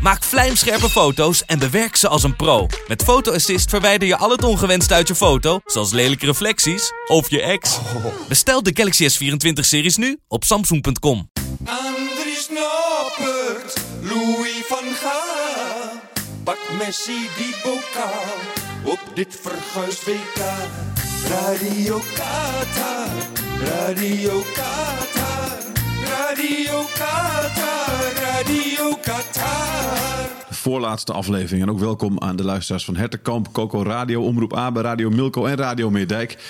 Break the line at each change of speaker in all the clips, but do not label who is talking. Maak vlijmscherpe foto's en bewerk ze als een pro. Met Photo Assist verwijder je al het ongewenst uit je foto, zoals lelijke reflecties of je ex. Bestel de Galaxy S24-series nu op samsung.com.
Andries Noppert, Louis van Gaal. Pak Messi die bokaal op dit verguisd WK. Radio Qatar, Radio Qatar, Radio Qatar, Radio Qatar.
voorlaatste aflevering. En ook welkom aan de luisteraars van Hertenkamp, Coco Radio, Omroep Abe, Radio Milko en Radio Meerdijk.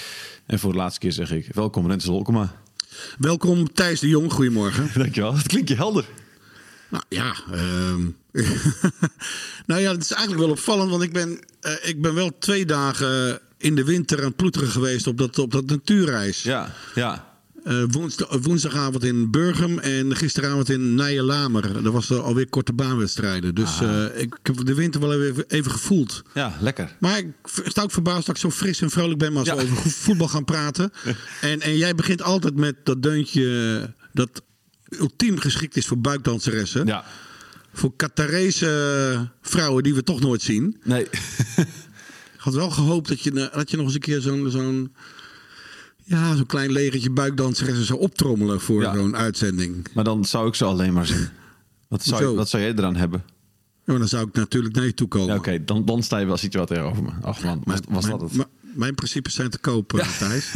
En voor de laatste keer zeg ik welkom Rensel Holkema.
Welkom Thijs de Jong, goedemorgen.
Dankjewel, dat klinkt je helder.
Nou ja, ehm, nou ja, het is eigenlijk wel opvallend, want ik ben, eh, ik ben wel twee dagen in de winter aan het ploeteren geweest op dat, op dat natuurreis.
Ja, ja.
Eh, woensda- woensdagavond in Burgum en gisteravond in Nijelamer. Dat was er alweer korte baanwedstrijden. Dus eh, ik heb de winter wel even, even gevoeld.
Ja, lekker.
Maar ik v- sta ook verbaasd dat ik zo fris en vrolijk ben als
Ja.
we over goed voetbal gaan praten. En, en jij begint altijd met dat deuntje eh, dat ultiem geschikt is voor buikdanseressen.
Ja.
Voor Qatarese eh, vrouwen die we toch nooit zien.
Nee.
Ik had wel gehoopt dat je, eh, dat je nog eens een keer zo'n... zo'n ja, zo'n klein legertje buikdanseressen zou optrommelen voor
Ja.
zo'n uitzending.
Maar dan zou ik ze alleen maar zien. Wat zou, je-
Hoezo?
wat zou jij eraan hebben?
Ja, maar dan zou ik natuurlijk naar je toe komen.
Ja, Oké, dan, dan sta je wel iets wat tegenover me. Ach man, was, was
mijn,
dat het?
mijn- mijn principes zijn te koop, eh, Thijs.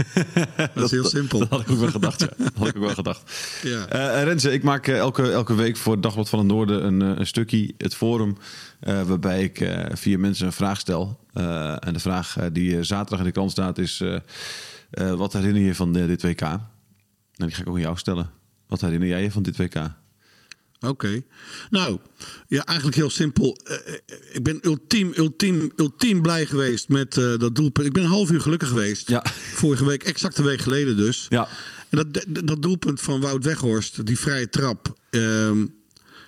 dat is heel simpel.
Dat had ik ook wel gedacht. Ja. Dat had ik ook wel gedacht.
Ja.
Eh, eh, Renze, ik maak eh, elke, elke week voor het Dagblad van het Noorden een, eh, een stukje, het forum, eh, waarbij ik eh vier mensen een vraag stel. Eh, en de vraag eh, die eh, zaterdag in de krant staat is: eh, eh, wat herinner je van eh, dit WK? En die ga ik ook aan jou stellen. Wat herinner jij je van dit WK?
Oké. Nou, ja, eigenlijk heel simpel. Eh, eh, ik ben ultiem, ultiem, ultiem blij geweest met eh, dat doelpunt. Ik ben een half uur gelukkig geweest.
Ja.
Vorige week, exact een week geleden dus.
Ja.
En dat, dat- dat doelpunt van Wout Weghorst, die vrije trap. ehm,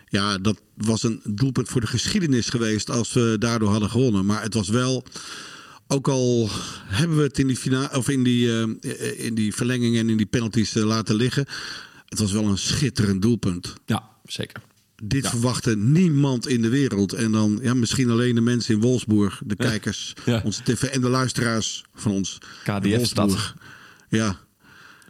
ja, dat was een doelpunt voor de geschiedenis geweest als we daardoor hadden gewonnen. Maar het was wel, ook al hebben we het in die, fina- of in die, eh, in die verlenging en in die penalties eh, laten liggen. Het was wel een schitterend doelpunt
Ja, zeker.
dit verwachtte niemand in de wereld. En dan ja, misschien alleen de mensen in Wolfsburg, de kijkers,
Ja.
onze tv en de luisteraars van ons.
KDF
in Wolfsburg.
stad.
Ja.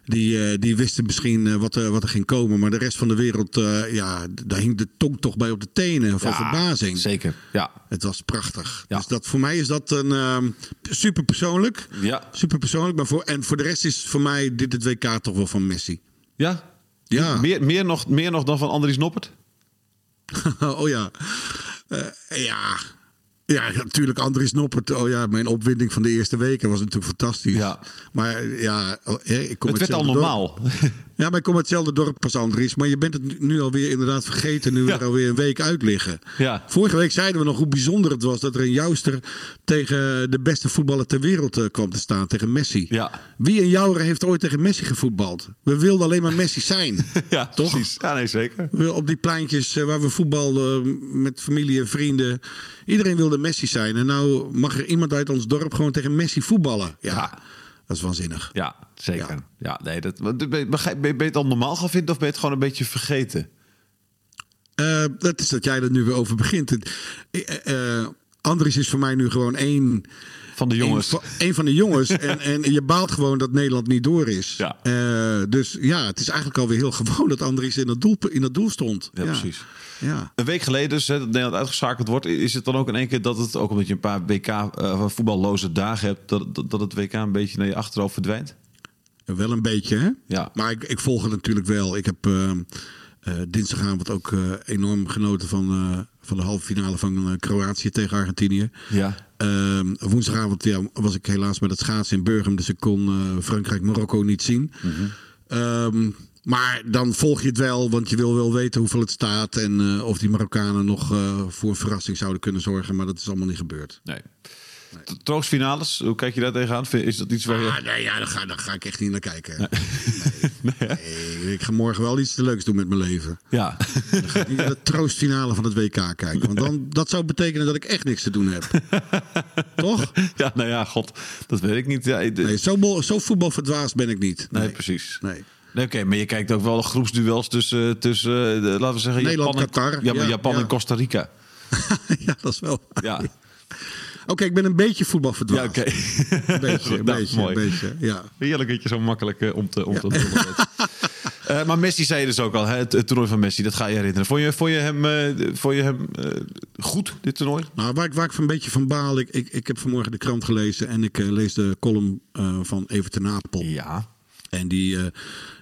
Die, eh, die wisten misschien eh, wat, er- wat er ging komen. Maar de rest van de wereld, eh, ja, d- daar hing de tong toch bij op de tenen van verbazing.
Zeker. Ja.
Het was prachtig.
Ja.
Dus dat, voor mij is dat een ehm super persoonlijk.
Ja.
Super persoonlijk. Maar voor, en voor de rest is voor mij dit het WK toch wel van Messi.
Ja?
Ja.
Meer, meer, nog, meer nog dan van Andries Noppert?
oh ja. Eh, ja. Ja, natuurlijk Andries Noppert. Oh ja, mijn opwinding van de eerste weken was natuurlijk fantastisch.
Ja.
Maar ja, oh, hè, ik kom
Het
uit
werd al
hetzelfde
normaal.
dorp. Ja, maar ik kom uit hetzelfde dorp als Andries. Maar je bent het nu- nu alweer inderdaad vergeten, nu we
Ja.
er alweer een week uit liggen.
Ja.
Vorige week zeiden we nog hoe bijzonder het was dat er een jouster tegen de beste voetballer ter wereld eh, kwam te staan, tegen Messi.
Ja.
Wie een jouwer heeft ooit tegen Messi gevoetbald? We wilden alleen maar Messi zijn.
ja,
toch?
precies. Ja, nee, zeker.
We- op die pleintjes eh, waar we voetbalden met familie en vrienden. Iedereen wilde Messi zijn. En nou mag er iemand uit ons dorp gewoon tegen Messi voetballen. Ja,
Ja.
dat is waanzinnig.
Ja, zeker. Ja,
Ja.
nee, dat, want ben, je- begrijp- ben je ben je het al normaal gaan vinden of ben je het gewoon een beetje vergeten?
Eh, dat is dat jij er nu weer over begint. Het- eh, eh, Andries is voor mij nu gewoon één...
Van de jongens.
Een, va- een van de jongens. en, en je baalt gewoon dat Nederland niet door is.
Ja.
Eh, dus ja, het is eigenlijk alweer heel gewoon dat Andries in dat doel, in dat doel stond.
Ja, precies.
Ja.
Een week geleden, dus, hè, dat Nederland uitgeschakeld wordt, is het dan ook in één keer dat het, ook omdat je een paar WK eh, voetballoze dagen hebt, dat, dat, dat het WK een beetje naar je achterhoofd verdwijnt?
Wel een beetje, hè?
Ja.
Maar ik, ik volg het natuurlijk wel. Ik heb ehm, eh, dinsdagavond ook eh, enorm genoten van, eh, van de halve finale van eh, Kroatië tegen Argentinië.
Ja.
Ehm, woensdagavond ja, was ik helaas met het schaatsen in Burgum, dus ik kon eh, Frankrijk-Marokko niet zien.
Mhm.
Ehm, maar dan volg je het wel, want je wil wel weten hoeveel het staat en eh, of die Marokkanen nog eh, voor een verrassing zouden kunnen zorgen. Maar dat is allemaal niet gebeurd.
Nee. T- Troostfinales, hoe kijk je daar tegenaan? Vind- Is dat iets waar
Ah,
je...
nee, ja, daar, ga, daar ga ik echt niet naar kijken. Nee. Nee, ik ga morgen wel iets te leuks doen met mijn leven.
Ja.
Niet naar de troostfinale van het WK kijken. Want dan, dat zou betekenen dat ik echt niks te doen heb. Toch?
ja, nou ja, god. Dat weet ik niet. Ja, ik-
Nee, zo, mo- zo voetbalverdwaasd ben ik niet.
Nee, precies.
Nee.
Nee, Oké, maar je kijkt ook wel de groepsduels tussen, tussen eh, de- laten we zeggen,
Nederland,
Japan en,
Qatar.
Ja, maar
Ja,
Japan
ja.
en Costa Rica.
ja, dat is wel. waar.
Ja,
Oké, ik ben een beetje voetbalverdwaasd.
ja oké.
Een beetje, een
Nou,
beetje,
mooi.
een beetje. Ja.
Heerlijk dat je zo makkelijk eh, om te om te doen bent. Eh, maar Messi zei je dus ook al, hè, het, het toernooi van Messi, dat ga je herinneren. Vond je, vond je hem, eh, vond je hem eh, goed, dit toernooi?
Nou, waar ik, waar ik van een beetje van baal, ik, ik, ik heb vanmorgen de krant gelezen en ik eh, lees de column eh, van Everton Apel.
Ja.
En die eh,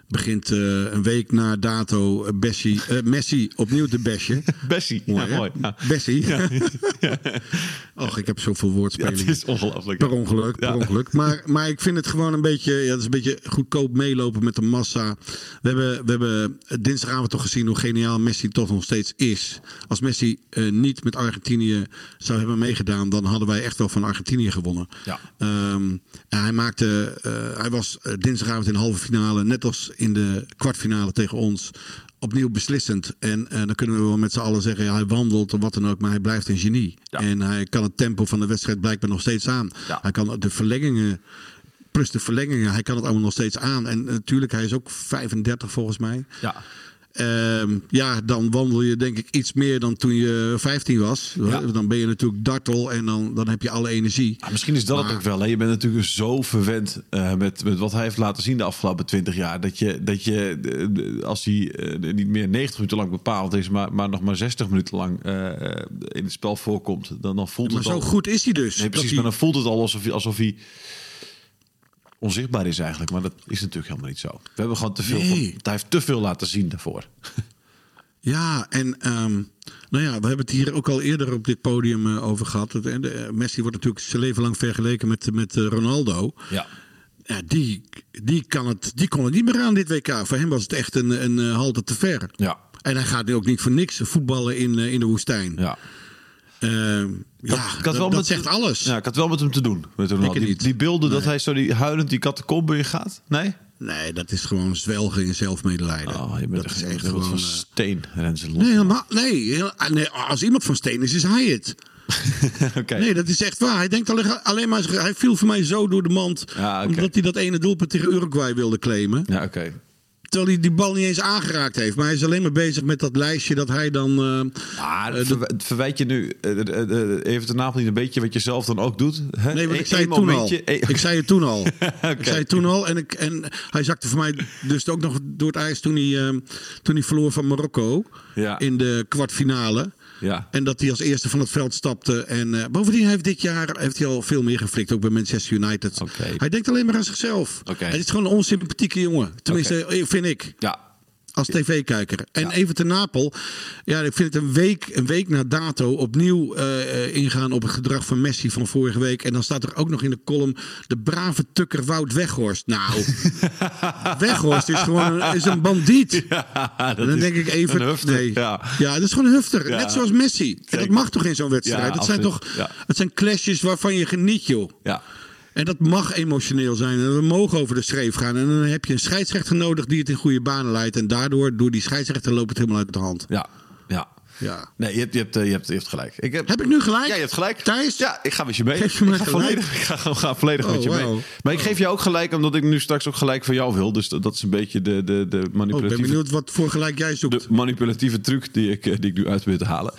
begint eh, een week na dato eh, Bessie, eh, Messi opnieuw te bashen.
Bessie. Ja,
hè?
mooi. Oh, Ja.
Bessie. Och, ik heb zoveel
Ja, het
woordspelingen.
is ongelooflijk.
Per ongeluk, per
Ja.
ongeluk. Maar, maar ik vind het gewoon een beetje, ja, het is een beetje goedkoop meelopen met de massa. We hebben, we hebben dinsdagavond toch gezien hoe geniaal Messi toch nog steeds is. Als Messi eh, niet met Argentinië zou hebben meegedaan, dan hadden wij echt wel van Argentinië gewonnen.
Ja.
Ehm, en hij, maakte, eh, hij was eh, dinsdagavond in de halve finale, net als in de kwartfinale tegen ons, opnieuw beslissend. En eh, dan kunnen we wel met z'n allen zeggen, ja, hij wandelt of wat dan ook, maar hij blijft een genie.
Ja.
En hij kan het tempo van de wedstrijd blijkbaar nog steeds aan.
Ja.
Hij kan de verlengingen, plus de verlengingen, hij kan het allemaal nog steeds aan. En natuurlijk, hij is ook 35 volgens mij.
Ja.
Ehm, ja, dan wandel je denk ik iets meer dan toen je 15 was.
Ja.
Dan ben je natuurlijk dartel en dan, dan heb je alle energie.
Ah, misschien is dat het
Maar-
ook wel. Hè? Je bent natuurlijk zo verwend eh, met, met wat hij heeft laten zien de afgelopen 20 jaar. Dat je, dat je eh, als hij eh, niet meer 90 minuten lang bepaald is, maar, maar nog maar 60 minuten lang eh, eh, in het spel voorkomt, dan, dan voelt
Maar
het
zo
al.
goed is hij dus.
Nee,
Dat
precies,
hij-
maar dan voelt het al alsof hij, alsof hij onzichtbaar is eigenlijk. Maar dat is natuurlijk helemaal niet zo. We hebben gewoon te veel.
Nee.
van- hij heeft te veel laten zien daarvoor.
Ja, en ehm, nou ja, we hebben het hier ook al eerder op dit podium eh, over gehad. Het- en de- eh, Messi wordt natuurlijk zijn leven lang vergeleken met, met eh, Ronaldo.
Ja.
Ja, die, die, kan het, die kon het niet meer aan dit WK. Voor hem was het echt een, een eh, halte te ver.
Ja.
En hij gaat nu ook niet voor niks voetballen in, eh, in de woestijn.
Ja.
Ehm, ja, dat, dat zegt alles.
Ja, ik had wel met hem te doen. Met Ronaldo.
het
Die,
niet.
die beelden dat hij zo die, huilend die kattenkombe in gaat. Nee?
Nee, dat is gewoon zwelgen in zelfmedelijden.
Oh, je bent
dat
echt,
is echt
gewoon
gewoon...
van
eh,
steen, Rensen.
Nee, helemaal, nee, heel- ah, nee, als iemand van steen is, is hij het.
Oké.
Nee, dat is echt waar. Hij denkt alleen, alleen maar, hij viel voor mij zo door de mand.
Ja, Ah, oké.
Omdat hij dat ene doelpunt tegen Uruguay wilde claimen.
Ja, oké.
Terwijl hij die bal niet eens aangeraakt heeft. Maar hij is alleen maar bezig met dat lijstje dat hij dan. eh,
Maar
eh, dat-
verw- verwijt je nu eh, eh, eh, even de naam niet een beetje wat je zelf dan ook doet? Hè?
Nee, want
Eén-
ik zei
één
het toen al.
momentje, e- één-
Ik zei het toen al.
Oké.
Ik zei het toen al. En, ik, en hij zakte voor mij dus ook nog door het ijs toen hij, eh, toen hij verloor van Marokko.
Ja.
In de kwartfinale.
Ja.
En dat hij als eerste van het veld stapte. En eh, bovendien heeft dit jaar heeft hij al veel meer geflikt. Ook bij Manchester United.
Oké.
Hij denkt alleen maar aan zichzelf.
Oké.
Hij is gewoon een onsympathieke jongen. Tenminste, eh, vind ik.
Ja.
Als tv-kijker. En even te Napel. Ja, ik vind het een week, een week na dato opnieuw eh, eh, ingaan op het gedrag van Messi van vorige week. En dan staat er ook nog in de column de brave tukker Wout Weghorst. Nou, Weghorst is gewoon een, is een bandiet.
ja
En dan denk ik even.
Een hufter,
nee.
ja.
dat is gewoon een hufter.
Ja.
Net zoals Messi. En dat
Zeker.
mag toch in zo'n wedstrijd?
Ja,
dat zijn
absoluut.
toch.
Ja.
Het zijn clashes waarvan je geniet, joh.
Ja.
En dat mag emotioneel zijn. En we mogen over de schreef gaan. En dan heb je een scheidsrechter nodig die het in goede banen leidt. En daardoor, door die scheidsrechter, loopt het helemaal uit de hand.
Ja. Ja.
Ja.
Nee, je hebt, je hebt, eh, je hebt, je hebt gelijk. Ik
Heb ik nu gelijk?
Ja, je hebt gelijk.
Thijs?
Ja, ik ga met je mee.
Geef je mij
ik ga
gelijk?
volledig, ik ga, gewoon- ga volledig
Oh,
met je
wauw.
mee. Maar ik geef jou ook gelijk, omdat ik nu straks ook gelijk van jou wil. Dus dat, dat is een beetje de, de, de
Oh, ik ben
manipulatieve
benieuwd wat voor gelijk jij zoekt.
de manipulatieve truc die ik, eh, die ik nu uit probeer te halen.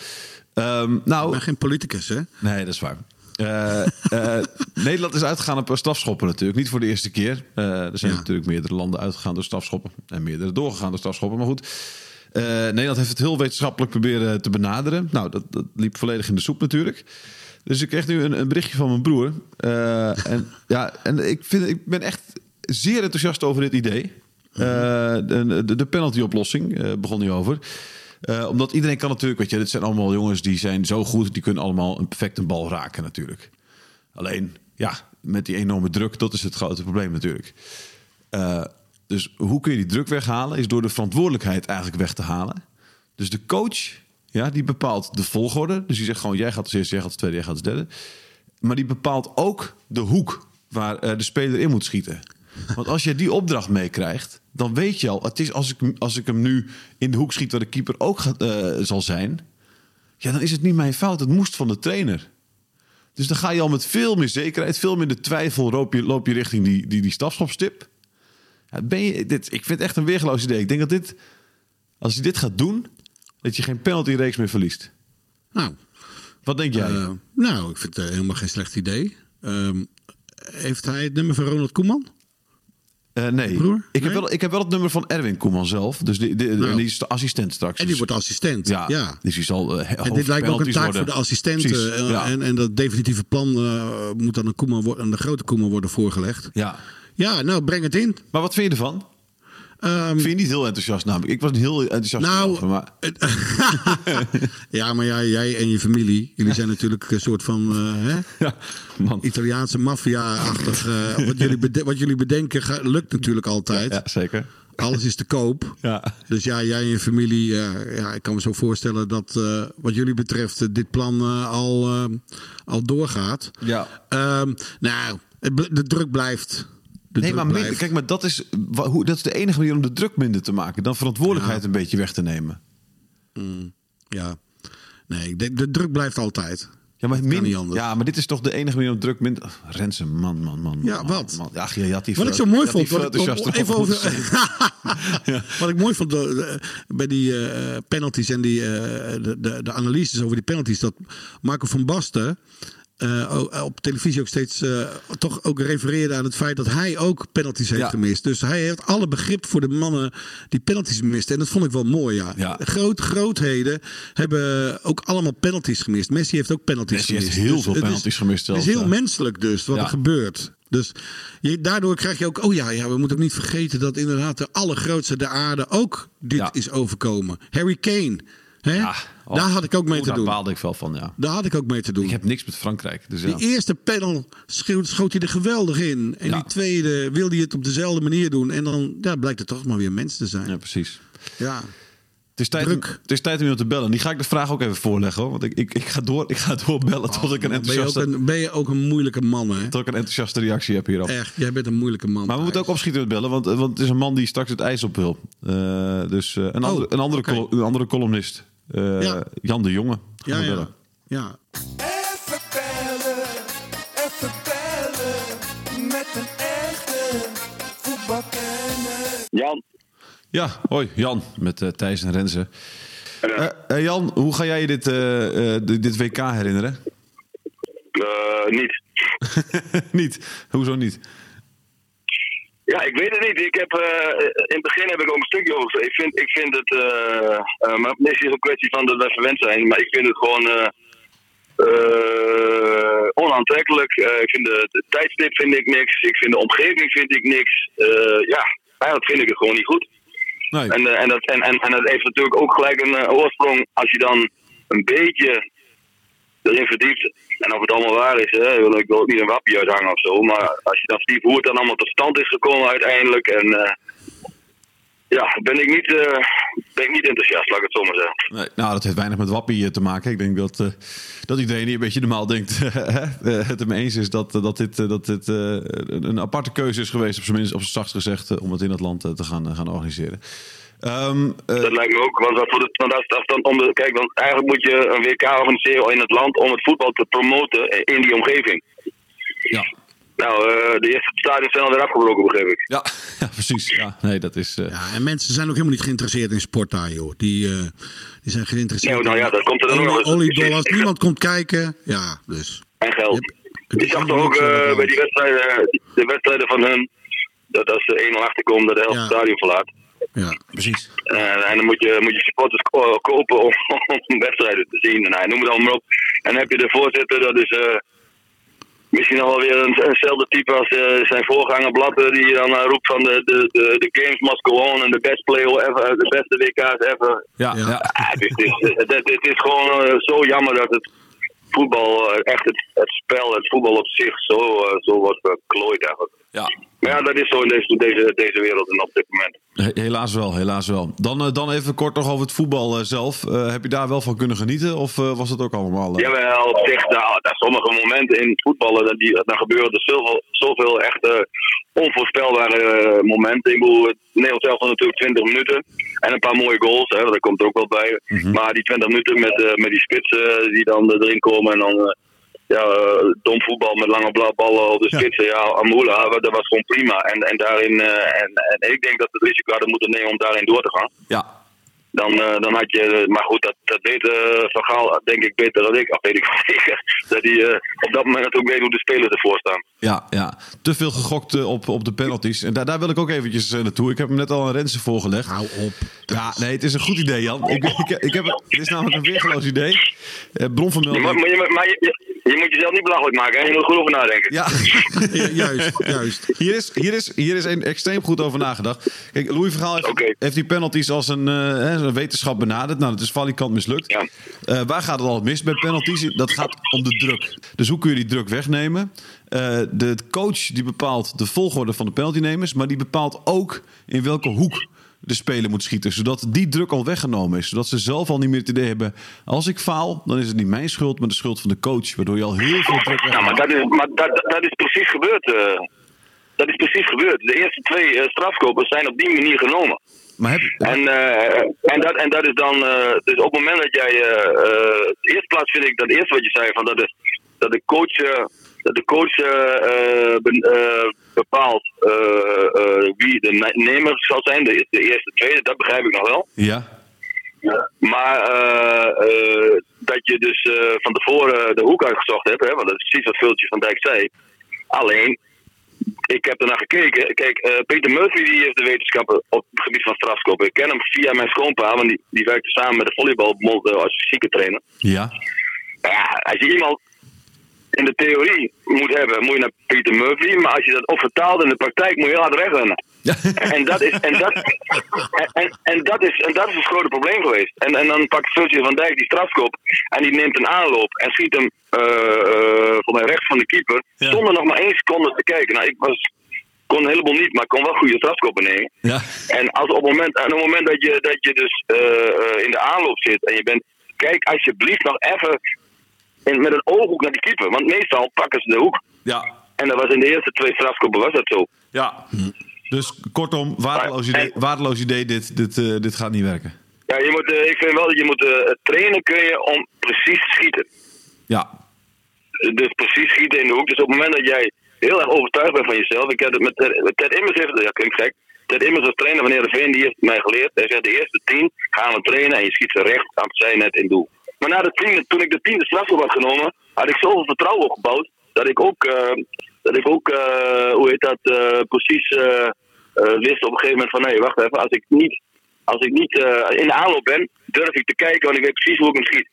Ehm,
Ik
nou,
ben geen politicus, hè?
nee, dat is waar. Eh, eh, Nederland is uitgegaan op eh, strafschoppen natuurlijk. Niet voor de eerste keer. Eh, er zijn
Ja.
natuurlijk meerdere landen uitgegaan door strafschoppen. En meerdere doorgegaan door strafschoppen. Maar goed, eh, Nederland heeft het heel wetenschappelijk proberen te benaderen. Nou, dat, dat liep volledig in de soep natuurlijk. Dus ik kreeg nu een, een berichtje van mijn broer. Eh, en ja, en ik, vind, ik ben echt zeer enthousiast over dit idee. Eh, de, de- de penalty-oplossing eh, begon hij over. Eh, omdat iedereen kan natuurlijk, weet je, dit zijn allemaal jongens die zijn zo goed, die kunnen allemaal een perfecte bal raken natuurlijk. Alleen, ja, met die enorme druk, dat is het grote probleem natuurlijk. Eh, dus hoe kun je die druk weghalen? Is door de verantwoordelijkheid eigenlijk weg te halen. Dus de coach, ja, die bepaalt de volgorde. Dus die zegt gewoon, jij gaat als eerste, jij gaat als tweede, jij gaat als derde. Maar die bepaalt ook de hoek waar eh, de speler in moet schieten. Want als je die opdracht meekrijgt, dan weet je al... Het is als, ik, als ik hem nu in de hoek schiet waar de keeper ook gaat, eh, zal zijn... Ja, dan is het niet mijn fout. Het moest van de trainer. Dus dan ga je al met veel meer zekerheid, veel minder twijfel... loop je, loop je richting die, die, die stafschopstip. Ja, ben je, dit, ik vind het echt een weergeloos idee. Ik denk dat dit, als je dit gaat doen, dat je geen penalty-reeks meer verliest.
Nou,
Wat denk jij?
eh, nou, ik vind het eh, helemaal geen slecht idee. Ehm, heeft hij het nummer van Ronald Koeman?
Eh, nee,
broer?
Ik, heb
Nee?
wel, ik heb wel het nummer van Erwin Koeman zelf. Dus die, die,
Nou.
die is de assistent straks.
En die wordt assistent.
ja,
Ja.
dus die zal eh,
En dit lijkt me ook een
hoofdpenalties
taak
worden.
voor de assistenten.
Precies,
eh,
ja.
en, en dat definitieve plan eh, moet dan aan, Koeman, wo- aan de grote Koeman worden voorgelegd.
ja.
Ja, nou, breng het in.
Maar wat vind je ervan?
Ehm,
Ik vind je niet heel enthousiast namelijk. Ik was niet heel enthousiast.
Nou,
erover, maar,
ja, maar jij, jij en je familie, jullie zijn natuurlijk een soort van eh, hè?
ja, man.
Italiaanse maffia-achtig. eh, wat, jullie bede- wat jullie bedenken ga- lukt natuurlijk altijd.
Ja, zeker.
Alles is te koop.
Ja.
Dus ja, jij en je familie, eh, ja, ik kan me zo voorstellen dat eh, wat jullie betreft eh, dit plan eh, al, eh, al doorgaat.
Ja.
Ehm, nou, het bl- de druk blijft. De
Nee,
druk
maar minder,
blijft.
kijk, maar dat is, wa- hoe, dat is de enige manier om de druk minder te maken. Dan verantwoordelijkheid een beetje weg te nemen.
Ja. Nee, ik denk, de druk blijft altijd.
Ja, maar,
kan
min,
niet anders.
ja, maar dit is toch de enige manier om druk minder... Ach, Rensen, man, man, man.
Ja,
man,
wat?
Man, Ach, ja, je had die
Wat ik
veel-
zo mooi
je had die
vond, wat
veel
ik, op-
enthousiaster
even
op
over,
moeten zeggen.
wat ik mooi vond eh, eh, bij die eh, penalties en die, eh, de, de, de analyses over die penalties, dat Marco van Basten eh, o- op televisie ook steeds eh, toch ook refereerde aan het feit dat hij ook penalties heeft
Ja.
gemist. Dus hij heeft alle begrip voor de mannen die penalties misten. En dat vond ik wel mooi, ja.
Ja.
Groot, grootheden hebben ook allemaal penalties gemist. Messi heeft ook penalties
Messi heeft
gemist.
heel
Dus
veel
het is-
penalties gemist
Het is
zelfs,
heel
ja.
menselijk dus, wat
Ja.
er gebeurt. Dus je, daardoor krijg je ook, oh ja, ja, we moeten ook niet vergeten dat inderdaad de allergrootste der aarde ook dit
Ja.
is overkomen. Harry Kane, hè?
Ja, oh.
daar had ik ook mee
Oh,
te doen.
Daar baalde ik wel van, ja.
Daar had ik ook mee te doen.
Ik heb niks met Frankrijk. Dus ja.
Die eerste panel schoot, schoot hij er geweldig in. En
Ja.
die tweede wilde hij het op dezelfde manier doen. En dan ja, blijkt het toch maar weer mens te zijn.
ja,
Ja.
precies. Het is, tijd om,
Druk.
het is tijd om iemand te bellen. Die ga ik de vraag ook even voorleggen. Hoor. Want ik, ik, ik, ga door, ik ga doorbellen tot, ik een
Oh, Ben, je ook
enthousiaste,
een, ben je ook een moeilijke man, hè?
tot ik een enthousiaste reactie heb hierop.
Echt, jij bent een moeilijke man.
Maar we moeten ook opschieten met bellen, want, want het is een man die straks het ijs op wil. Eh, dus eh, een, andere, een, andere
Oh, oké.
col- een andere columnist, Eh,
Ja.
Jan de Jonge. Gaan
Ja,
we
ja.
bellen.
ja.
Even bellen, even bellen met een echte voetbalkenner.
Jan,
Ja, hoi Jan, met eh, Thijs en Renze. Eh, eh, Jan, hoe ga jij je dit, eh, eh, di- dit WK herinneren?
eh, niet.
niet. Hoezo niet?
Ja, ik weet het niet. Ik heb, eh, in het begin heb ik ook een stukje over. Ik vind, ik vind het. eh, eh, maar misschien is het een kwestie van dat we verwend zijn. Maar ik vind het gewoon. eh, eh, onaantrekkelijk. Eh, ik vind de, de tijdstip vind ik niks. Ik vind de omgeving vind ik niks. Eh, ja, eigenlijk vind ik het gewoon niet goed.
Nee.
En, eh, en, dat, en, en, en dat heeft natuurlijk ook gelijk een eh, oorsprong als je dan een beetje erin verdiept. En of het allemaal waar is, hè, wil ik wil ook niet een wappie uithangen of zo. Maar als je dan verdiept hoe het dan allemaal tot stand is gekomen uiteindelijk. En eh, ja, ben ik, niet, eh, ben ik niet enthousiast, laat ik het zo maar zeggen.
Nee, nou, dat heeft weinig met wappie eh, te maken. Ik denk dat, eh, dat iedereen die een beetje normaal denkt, hè, eh, het ermee eens is dat, eh, dat dit, eh, dat dit eh, een een aparte keuze is geweest, op zijn minst, op zijn zachtst gezegd, eh, om het in dat land eh, te gaan, eh, gaan organiseren. Ehm, eh,
Dat lijkt me ook, want, dat voor de, want als, als dan om de, kijk, want eigenlijk moet je een WK organiseren in het land om het voetbal te promoten in die omgeving.
ja.
Nou, eh, de eerste stadions zijn alweer afgebroken, begreep ik.
Ja, ja, precies. Ja, nee, dat is. eh,
Ja, en mensen zijn ook helemaal niet geïnteresseerd in sport daar, joh. Die, eh, die zijn geïnteresseerd
Nou, nou ja, dat komt er dan
in
nog eens.
oliedollars. Niemand komt kijken. Ja, dus.
En geld.
Yep. Het
Ik
is
zag
allemaal
toch ook
niks aan de
eh,
hand.
bij die wedstrijden, eh, de wedstrijden van hun, dat als ze 1-0 achterkomen, dat de helft
Ja.
het stadion verlaat.
Ja.
precies.
Eh, en dan moet je, moet je supporters ko- kopen om, om wedstrijden te zien. En nou, noem het allemaal maar op. En dan heb je de voorzitter, dat is eh Misschien nog wel weer een, eenzelfde type als eh, zijn voorganger Blatter, die dan eh, roept van de, de, de, de games must go on en de best play ever, de beste WK's ever.
Ja, ja.
Ah, het, is, het is- het- het is gewoon eh, zo jammer dat het voetbal, eh, echt het, het spel, het voetbal op zich, zo, eh, zo wordt verklooid eigenlijk.
ja.
Maar ja, dat is zo in deze, deze, deze wereld en op dit moment.
He- Helaas wel, helaas wel. Dan, eh, dan even kort nog over het voetbal eh, zelf. Eh, heb je daar wel van kunnen genieten? Of eh, was dat ook allemaal... eh,
Jawel, op zich, nou, daar sommige momenten in het voetballen, dat die, dan gebeuren er zoveel, zoveel echt eh, onvoorspelbare eh, momenten. Ik bedoel, het Nederlands zelf natuurlijk 20 minuten en een paar mooie goals, hè, dat komt er ook wel bij. Maar die 20 minuten met, eh, met die spitsen die dan erin komen en dan eh, ja, eh, dom voetbal met lange bla- ballen op de spitsen. Ja, Amula, dat was gewoon prima. En, en, daarin, eh, en, en ik denk dat ze het risico hadden moeten nemen om daarin door te gaan
Ja,
dan, eh, dan had je. Maar goed, dat, dat weet eh Van Gaal, denk ik, beter dan ik. Of weet ik wel zeker. Dat hij eh, op dat moment ook weet hoe de spelers ervoor staan.
ja, ja. Te veel gegokt eh, op, op de penalties. En daar, daar wil ik ook eventjes eh, naartoe. Ik heb hem net al aan Rensen voorgelegd.
Hou op.
Ja, nee, het is een goed idee, Jan. Ik, ik, ik heb, het is namelijk een weergeloos idee. Eh,
Je moet,
bronvermelding.
maar je, moet- maar je, je- je moet jezelf niet belachelijk maken, hè? je moet goed over nadenken.
Ja,
Ja, juist, juist.
hier is, hier is, hier is een extreem goed over nagedacht. Kijk, Louis Vergaal heeft,
Oké.
heeft die penalties als een, eh, hè, een wetenschap benaderd. Nou, dat is valikant mislukt.
Ja.
Eh, waar gaat het altijd mis bij penalties? Dat gaat om de druk. Dus hoe kun je die druk wegnemen? Eh, de coach die bepaalt de volgorde van de penaltynemers, maar die bepaalt ook in welke hoek de speler moet schieten, zodat die druk al weggenomen is. Zodat ze zelf al niet meer het idee hebben... als ik faal, dan is het niet mijn schuld, maar de schuld van de coach... waardoor je al heel veel druk
Nou, maar
wegneemt.
dat is, maar dat, dat- dat is precies gebeurd. eh. dat is precies gebeurd. De eerste twee eh, strafkopers zijn op die manier genomen.
Maar heb,
En, eh, en, dat, en dat is dan. eh, dus op het moment dat jij. eh eh, eerst plaats vind ik dat eerste wat je zei: van dat, de, dat de coach. eh, dat de coach eh, eh, be- eh, bepaalt eh, eh, wie de ne- nemer zal zijn, de, de eerste, tweede, dat begrijp ik nog wel.
ja,
Maar eh, eh, dat je dus eh, van tevoren de hoek uitgezocht hebt, hè, want dat is precies wat Vultje van Dijk zei. Alleen, ik heb ernaar gekeken. Kijk, eh, Peter Murphy die heeft de wetenschappen op het gebied van strafskoppen. Ik ken hem via mijn schoonpa, want die, die werkte samen met de volleybalbond eh, als fysieke trainer.
ja,
Ja, als je iemand in de theorie moet hebben, moet je naar Peter Murphy. Maar als je dat ook vertaalt in de praktijk, moet je heel hard wegrennen. En dat is, en dat, en, en, en dat is, en dat is het grote probleem geweest. En, en dan pakt Virgil van Dijk die strafkop en die neemt een aanloop en schiet hem eh, eh, voor mij rechts van de keeper.
Ja.
Zonder nog maar één seconde te kijken. Nou, ik was, kon een heleboel niet, maar kon wel goede strafkoppen nemen.
ja,
En als op het moment, aan het moment dat je, dat je dus eh, eh, in de aanloop zit en je bent, kijk alsjeblieft nog even in- met een ooghoek naar die keeper. Want meestal pakken ze de hoek.
ja.
En dat was in de eerste twee strafkoppen was dat zo.
Ja. Dus kortom, waardeloos
Maar-
idee, waardeloos idee dit, dit, eh, dit gaat niet werken.
Ja, je moet, eh, ik vind wel dat je moet eh, trainen kun je om precies te schieten.
Ja.
Dus precies schieten in de hoek. Dus op het moment dat jij heel erg overtuigd bent van jezelf. Ik heb het met Ted, Ted Immers heeft, ja klinkt gek. Ted Immers als trainer van Heerenveen, die heeft mij geleerd. Hij zegt de eerste tien gaan we trainen en je schiet ze recht aan het zijnet in doel. Maar na de tiende, toen ik de tiende strafschop had genomen, had ik zoveel vertrouwen opgebouwd dat ik ook, eh, dat ik ook eh, hoe heet dat, eh, precies eh, eh, wist op een gegeven moment van nee, wacht even, als ik niet, als ik niet eh, in de aanloop ben, durf ik te kijken, want ik weet precies hoe ik hem schiet.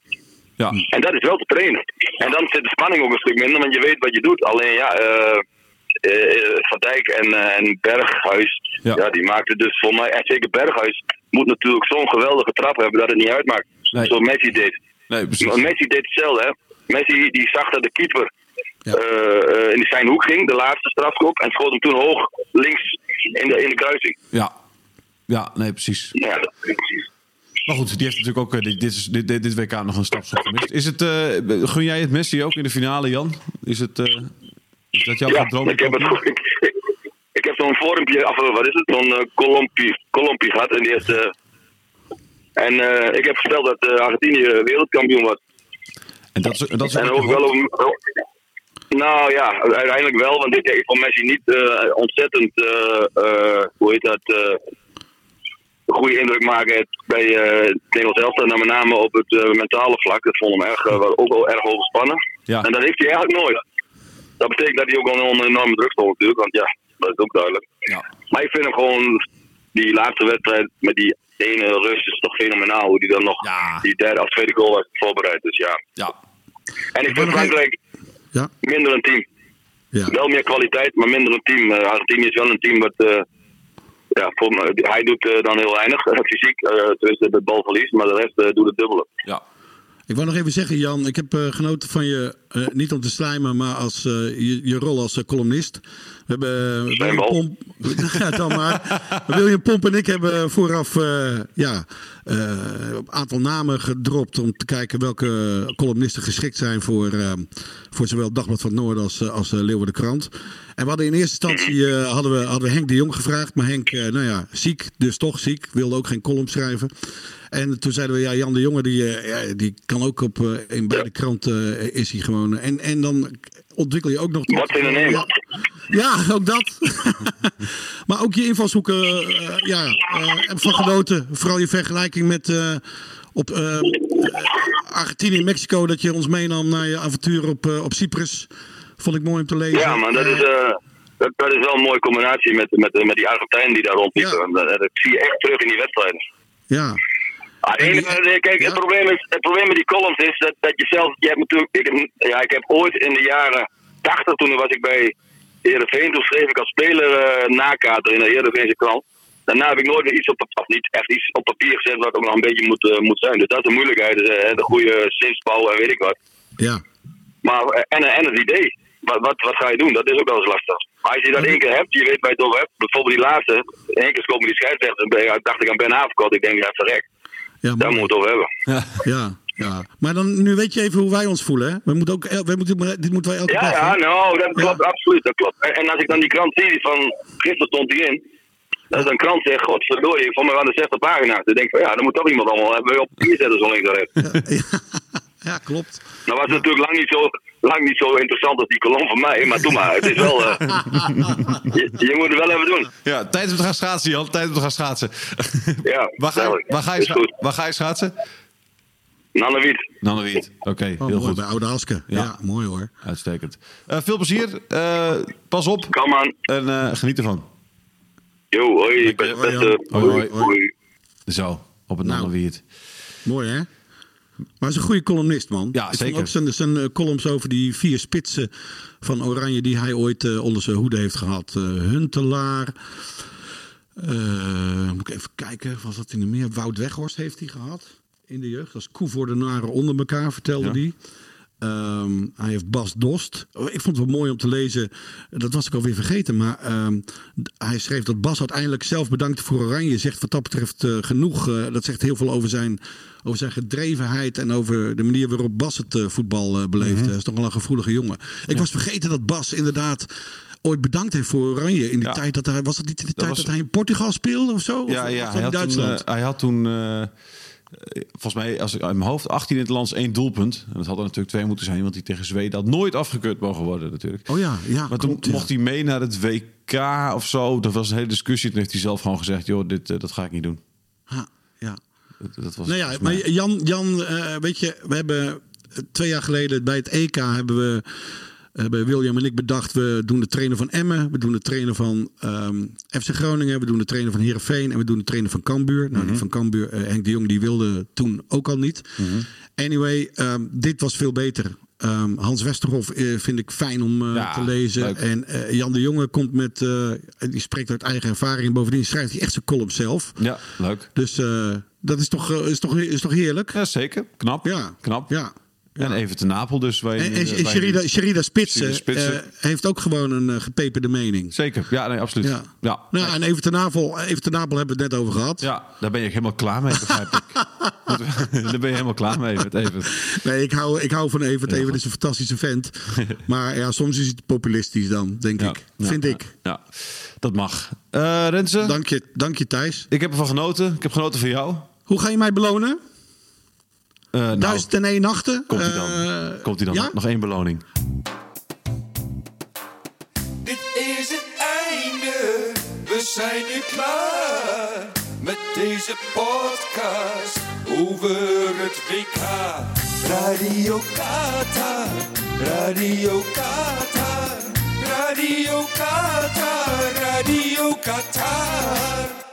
Ja.
En dat is wel te trainen. En dan zit de spanning ook een stuk minder, want je weet wat je doet. Alleen ja, eh, eh, Van Dijk en, eh, en Berghuis,
Ja.
ja. die maakten dus voor mij, en zeker Berghuis, moet natuurlijk zo'n geweldige trap hebben dat het niet uitmaakt.
Nee.
Zoals Messi deed.
Nee,
Maar
precies.
Messi deed hetzelfde, hè. Messi die zag dat de keeper eh, eh, in zijn hoek ging, de laatste strafkop, en schoot hem toen hoog links in de, in de kruising. Nou
Ja. Ja, nee, precies.
Ja, dat precies.
Maar goed, die heeft natuurlijk ook eh, dit, dit, is- dit, dit, dit WK nog een stapje gemist. Is het, eh, gun jij het Messi ook in de finale, Jan? Is, het, eh, is dat jouw
Ja,
droom?
ik heb het goed. Ik, ik- ik heb zo'n vormpje, of eh, wat is het, zo'n eh kolompie, kolompie gehad. En, die heeft, eh, en eh, ik heb gesteld dat eh, Argentinië wereldkampioen was.
En dat is, en dat is
En ook wel om. oh, Nou ja, uiteindelijk wel, want ik, ik vond Messi niet eh, ontzettend, eh, eh, hoe heet dat, eh, een goede indruk maken bij eh het Nederlands elftal. En dan met name op het eh, mentale vlak. Dat vond hem erg, eh, wel- ook wel erg overspannen.
Ja.
En dat heeft hij eigenlijk nooit. Dat betekent dat hij ook wel onder enorme druk stond natuurlijk, want ja, dat is ook duidelijk.
Ja.
Maar ik vind hem gewoon, die laatste wedstrijd met die ene Rus is toch fenomenaal. Hoe die dan nog
Ja.
die derde of tweede goal was voorbereid. Dus ja,
Ja.
en
ben
ik vind
nog
Frankrijk
Ja.
minder een team.
Ja.
Wel meer kwaliteit, maar minder een team. Eh, Argentinië is wel een team wat. eh, ja, voor me- hij doet eh, dan heel weinig eh, fysiek. eh tenminste, de bal verliest, maar de rest eh, doet het dubbele.
Ja.
Ik wou nog even zeggen, Jan, ik heb eh, genoten van je, eh, niet om te slijmen, maar als, eh, je, je rol als eh, columnist. We hebben eh, William
wel.
Pomp, ja, dan maar. William Pomp en ik hebben vooraf eh, ja, eh, een aantal namen gedropt om te kijken welke columnisten geschikt zijn voor, eh, voor zowel het Dagblad van het Noorden als, eh, als eh, Leeuwarden Krant. En we hadden in eerste instantie eh, hadden we, hadden we Henk de Jong gevraagd, maar Henk, eh, nou ja, ziek, dus toch ziek, wilde ook geen column schrijven. En toen zeiden we, ja, Jan de Jonge, die, eh, ja, die kan ook op, eh, in beide kranten eh, is hij gewoon. En, en dan ontwikkel je ook nog...
Wat in een neem.
Ja, ja, ook dat. maar ook je invalshoeken, eh, ja, eh, heb van genoten. Vooral je vergelijking met eh, op eh, Argentinië en Mexico, dat je ons meenam naar je avontuur op, eh, op Cyprus. Vond ik mooi om te lezen.
Ja, maar dat
Eh,
is, eh, dat, dat is wel een mooie combinatie met, met, met die Argentijnen die daar rondliepen.
Ja.
En Dat, dat zie je echt terug in die wedstrijden.
Ja,
Ah, het enige-
En die-
kijk,
ja?
het, probleem is, het probleem met die columns is dat, dat je zelf. Je hebt natuurlijk, ik, ja, ik heb ooit in de jaren 80, toen was ik bij Heerenveen, toen schreef ik als speler eh, nakater in de Heerenveense krant. Daarna heb ik nooit meer iets op, pap- of niet echt iets op papier gezet wat ook nog een beetje moet, eh, moet zijn. Dus dat is de moeilijkheid, dus, eh, de goede zinsbouw en weet ik wat.
ja.
Maar, eh, en, en het idee. Wat, wat, wat ga je doen? Dat is ook wel eens lastig. Maar als je dat één keer hebt, je weet waar je het over hebt. Bijvoorbeeld die laatste, in één keer komen die scheidsrechter. bij- dacht ik aan Ben Haverkot. Ik denk, ja, verrek.
Ja,
Daar
mooi.
moeten we het over hebben.
ja, ja. Maar dan, nu weet je even hoe wij ons voelen. Hè? We moeten ook, el- we moeten, dit moeten wij elke
Ja,
dag. hè?
ja, nou, dat klopt, absoluut, dat klopt. En, en als ik dan die krant zie, die van gisteren stond die in. Dat is een krant, zeg, godverdorie, voor mij aan de 60 pagina's. Dan denk ik van, ja, dan moet toch iemand allemaal hebben op papier zetten zo links en rechts.
ja, klopt.
Nou was het natuurlijk lang niet, zo, lang niet zo interessant als die kolom van mij, maar doe maar, het is wel... eh, je, je moet het wel even doen,
Ja, tijd om te gaan schaatsen, Jan. Tijd om te gaan schaatsen.
ja.
waar, ga je,
duidelijk.
waar, ga je,
Is
scha-
goed,
waar ga je schaatsen?
Nannewiet.
Nannewiet. Oké,
Oh,
heel
mooi,
goed.
Bij Oude Haske. Ja. mooi hoor.
Uitstekend. Eh, veel plezier. Eh, pas op
Kom aan.
en eh, geniet ervan.
Yo, hoi,
Dank je.
beste, beste.
Hoi, Jan. Hoi, hoi.
hoi.
Zo, op het
Nou.
Nannewiet.
Mooi hè? Maar hij is een goede columnist, man.
Ja,
Ik vond
zeker.
Ook zijn, zijn eh, columns over die vier spitsen van Oranje die hij ooit eh, onder zijn hoede heeft gehad. Eh, Huntelaar. Eh, moet ik even kijken, was dat in de meer? Wout Weghorst heeft hij gehad in de jeugd. Als koe voor de naren onder elkaar, vertelde hij. Ehm, hij heeft Bas Dost. Oh, Ik vond het wel mooi om te lezen. Dat was ik alweer vergeten. Maar ehm, d- hij schreef dat Bas uiteindelijk zelf bedankt voor Oranje. Zegt wat dat betreft eh, genoeg. Eh, dat zegt heel veel over zijn, over zijn gedrevenheid. En over de manier waarop Bas het eh, voetbal eh, beleefde. Hij is toch wel een gevoelige jongen. Ik was vergeten dat Bas inderdaad ooit bedankt heeft voor Oranje. In die
Ja.
tijd dat hij. Was dat niet in de tijd
was-
dat hij in Portugal speelde of zo? Of
Ja,
was
ja
dat
hij,
in
had toen,
Duitsland.
eh, hij had toen, eh, eh, volgens mij, als ik uit mijn hoofd, 18 in het lands één doelpunt. En dat had er natuurlijk twee moeten zijn, want die tegen Zweden had nooit afgekeurd mogen worden natuurlijk.
Oh ja, ja,
Maar
klopt, ja.
toen mocht hij mee naar het WK of zo. Dat was een hele discussie. Toen heeft hij zelf gewoon gezegd, joh, dit, eh, dat ga ik niet doen.
Ha, ja.
Dat, dat was
Nou ja,
volgens mij-
maar Jan, Jan eh, weet je, we hebben eh, twee jaar geleden bij het EK hebben we hebben William en ik bedacht, we doen de trainer van Emmen, we doen de trainer van ehm, FC Groningen, we doen de trainer van Heerenveen en we doen de trainer van Cambuur. Nou,
Mhm.
die van Cambuur, eh, Henk de Jong, die wilde toen ook al niet. Anyway, ehm, dit was veel beter. Ehm, Hans Westerhof eh, vind ik fijn om eh,
Ja,
te lezen.
leuk.
En eh, Jan de Jonge komt met, eh, die spreekt uit eigen ervaring. Bovendien schrijft hij echt zijn column zelf.
Ja, leuk.
Dus eh, dat is toch, eh, is, toch, is toch heerlijk?
Ja, zeker. Knap.
Ja.
Knap.
Ja.
En even te Napel dus. Waar je,
En,
nu,
en,
eh,
en
waar je nu-
Sherida, Sherida Spitsen,
Sherida Spitsen.
eh, heeft ook gewoon een eh, gepeperde mening.
Zeker. Ja, nee, absoluut.
Ja.
Ja.
Nou, ja, en even ten, Napel, even ten Napel hebben we het net over gehad.
Ja, daar ben je helemaal klaar mee, begrijp ik. daar ben je helemaal klaar mee met Evert.
Nee, ik hou, ik hou van Evert. Evert is een fantastische vent. maar ja, soms is het populistisch dan, denk
Ja,
ik.
ja,
Vind
ja,
ik.
Ja, dat mag. Eh Renze,
Dank je, dank je, Thijs.
ik heb ervan genoten. Ik heb genoten van jou.
Hoe ga je mij belonen?
Eh, nou,
Duizend en één nachten?
komt hij dan.
Eh,
komt hij dan.
ja?
Nog één beloning.
Dit is het einde, we zijn nu klaar met deze podcast over het WK. Radio Qatar, Radio Qatar, Radio Qatar, Radio Qatar.